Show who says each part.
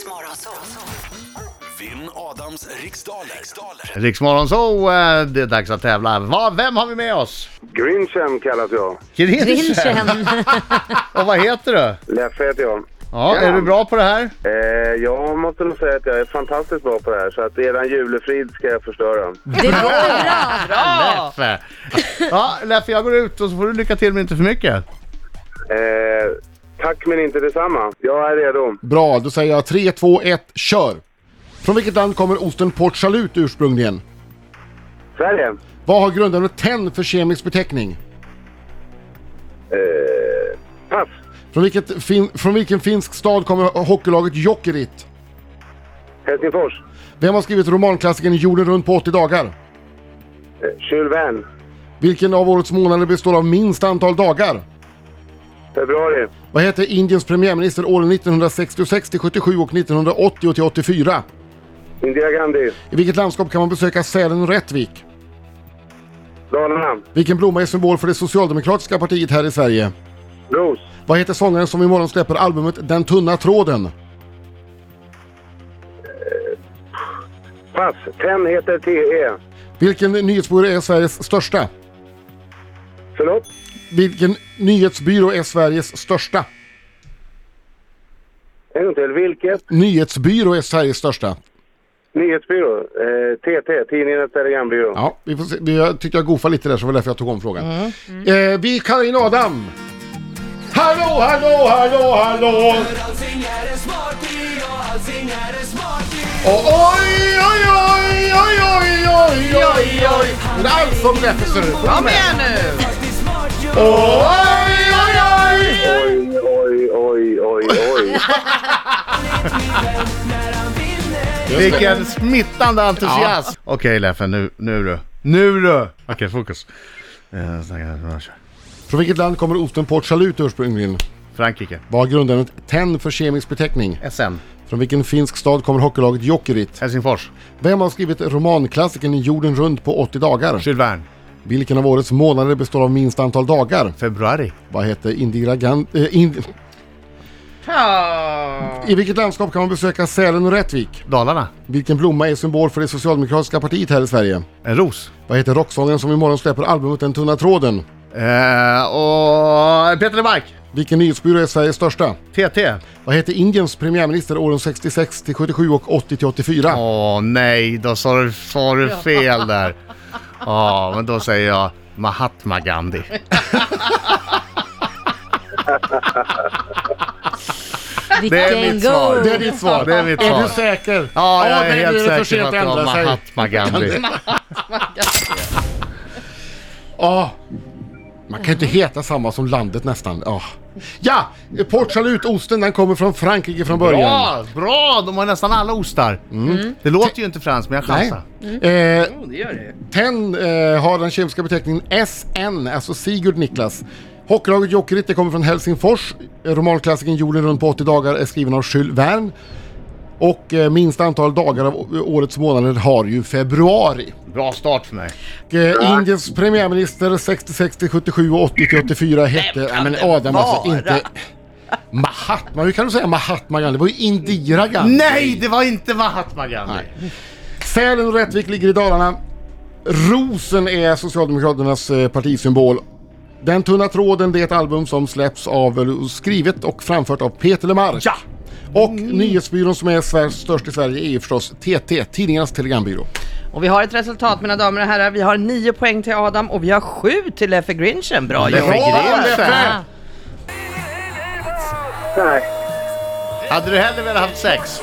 Speaker 1: Riksmorgon så.
Speaker 2: Vinn Adams riksdaler. riksdaler.
Speaker 3: Riksmorgon så eh, det är dags att tävla. Va, vem har vi med oss?
Speaker 4: Grinchen kallas jag.
Speaker 3: Grinchen!
Speaker 5: Grinchen.
Speaker 3: Och vad heter du?
Speaker 4: Leffe heter jag.
Speaker 3: Ja, är du bra på det här?
Speaker 4: Eh, jag måste nog säga att jag är fantastiskt bra på det här, så att eran julefrid ska jag förstöra.
Speaker 5: Det låter bra.
Speaker 6: Bra!
Speaker 3: Leffe! Ja, Leffe jag går ut och så får du lycka till men inte för mycket.
Speaker 4: Eh, tack men inte detsamma. Jag är redo.
Speaker 7: Bra, då säger jag 3, 2, 1, kör! Från vilket land kommer osten Port Salut ursprungligen?
Speaker 4: Sverige.
Speaker 7: Vad har grundämnet tenn för kemisk beteckning?
Speaker 4: Eh, pass.
Speaker 7: Från, vilket fin- från vilken finsk stad kommer hockeylaget Jokerit?
Speaker 4: Helsingfors.
Speaker 7: Vem har skrivit romanklassikern Jorden runt på 80 dagar?
Speaker 4: Eh, Jules Verne.
Speaker 7: Vilken av årets månader består av minst antal dagar?
Speaker 4: Februari.
Speaker 7: Vad hette Indiens premiärminister åren 1966 till 77 och 1980 till 84?
Speaker 4: Indira Gandhi.
Speaker 7: I vilket landskap kan man besöka Sälen och Rättvik?
Speaker 4: Dalarna.
Speaker 7: Vilken blomma är symbol för det socialdemokratiska partiet här i Sverige?
Speaker 4: Ros.
Speaker 7: Vad heter sångaren som imorgon släpper albumet Den tunna tråden?
Speaker 4: Pass. Ten heter E. TE.
Speaker 7: Vilken nyhetsbyrå är Sveriges största?
Speaker 4: Förlåt?
Speaker 7: Vilken nyhetsbyrå är Sveriges största?
Speaker 4: En gång till. Vilket?
Speaker 7: Nyhetsbyrå är Sveriges största.
Speaker 4: Nyhetsbyrå. Eh, TT. Tidningarnas telegrambyrå.
Speaker 7: Ja, vi får se. Vi- Jag tyckte jag goofade lite där så det var därför jag tog om frågan. Eh, vi kallar in Adam! Hallå, hallå, hallå, hallå! Och oj, oj, oj, oj, oj, oj, oj, oj! Men allt som Leffe ser ut.
Speaker 6: Kom igen nu!
Speaker 7: Och oj, oj, oj!
Speaker 4: Oj, oj, oj, oj, oj.
Speaker 3: Vilken smittande entusiasm! Okej Leffe, nu, nu du. Nu du! Okej, fokus. Eh, snacka- kör.
Speaker 7: Från vilket land kommer osten Port Salut ursprungligen?
Speaker 3: Frankrike.
Speaker 7: Vad har grundämnet tenn för kemisk beteckning?
Speaker 3: SN.
Speaker 7: Från vilken finsk stad kommer hockeylaget Jokerit?
Speaker 3: Helsingfors.
Speaker 7: Vem har skrivit romanklassikern Jorden runt på 80 dagar?
Speaker 3: Jules Verne.
Speaker 7: Vilken av årets månader består av minst antal dagar?
Speaker 3: Februari.
Speaker 7: Vad heter Indira Gandhi... Äh, ind...
Speaker 6: Ja.
Speaker 7: I vilket landskap kan man besöka Sälen och Rättvik?
Speaker 3: Dalarna.
Speaker 7: Vilken blomma är symbol för det socialdemokratiska partiet här i Sverige?
Speaker 3: En Eh, ros.
Speaker 7: Vad heter rocksångaren som imorgon släpper albumet Den tunna tråden?
Speaker 3: Eh, och Peter Lemark.
Speaker 7: Vilken nyhetsbyrå är Sveriges största?
Speaker 3: TT.
Speaker 7: Vad heter Indiens premiärminister åren 66 till 77 och 80 till 84?
Speaker 3: Åh nej, då sa du, sa du fel där. Ja, men då säger jag Mahatma Gandhi.
Speaker 5: Vilken go!
Speaker 3: Det är ditt svar. Det är mitt svar.
Speaker 7: säker?
Speaker 3: Ja, jag är
Speaker 7: nej, nu
Speaker 3: helt
Speaker 7: det
Speaker 3: säker
Speaker 7: för sent
Speaker 3: på att det var
Speaker 7: ändra sig.
Speaker 3: Mahatma Gandhi.
Speaker 7: Ja. Man kan ju inte heta samma som landet nästan. Ja, ja Port Salut, osten, den kommer från Frankrike från början.
Speaker 3: Bra, bra! De har nästan alla ostar. Det låter ju inte franskt, men jag
Speaker 7: Mm. Nej.
Speaker 3: chansar.
Speaker 7: Eh,
Speaker 6: Mm. Jo, det gör det.
Speaker 7: ten eh, har den kemiska beteckningen SN, alltså Sigurd Niklas. Hockeylaget Jokerit, det kommer från Helsingfors. Eh, Romanklassikern Jorden runt på 80 dagar är skriven av Jules Verne. Och eh, minsta antal dagar av å- årets månader har ju februari.
Speaker 3: Bra start för mig.
Speaker 7: Och, eh, Indiens premiärminister 66 till 77 och 80 till 84 hette... Nej men Adam alltså
Speaker 6: vara?
Speaker 7: inte... Mahatma, hur kan du säga Mahatma Gandhi? Det var ju Indira Gandhi.
Speaker 3: Nej, det var inte Mahatma Gandhi.
Speaker 7: Nej. Sälen och Rättvik ligger i Dalarna. Rosen är Socialdemokraternas eh, partisymbol. Den tunna tråden det är ett album som släpps av, eller skrivet och framfört av Peter Lemark.
Speaker 3: Ja!
Speaker 7: Och nyhetsbyrån som är Sveriges störst i Sverige är ju förstås TT, Tidningarnas Telegrambyrå.
Speaker 6: Och vi har ett resultat mina damer och herrar. Vi har 9 poäng till Adam och vi har 7 till Leffe Grinchen. Bra
Speaker 3: Leffe
Speaker 6: jobbat!
Speaker 3: Grinchen.
Speaker 7: Leffe!
Speaker 4: Nej.
Speaker 3: Hade du hellre velat haft sex?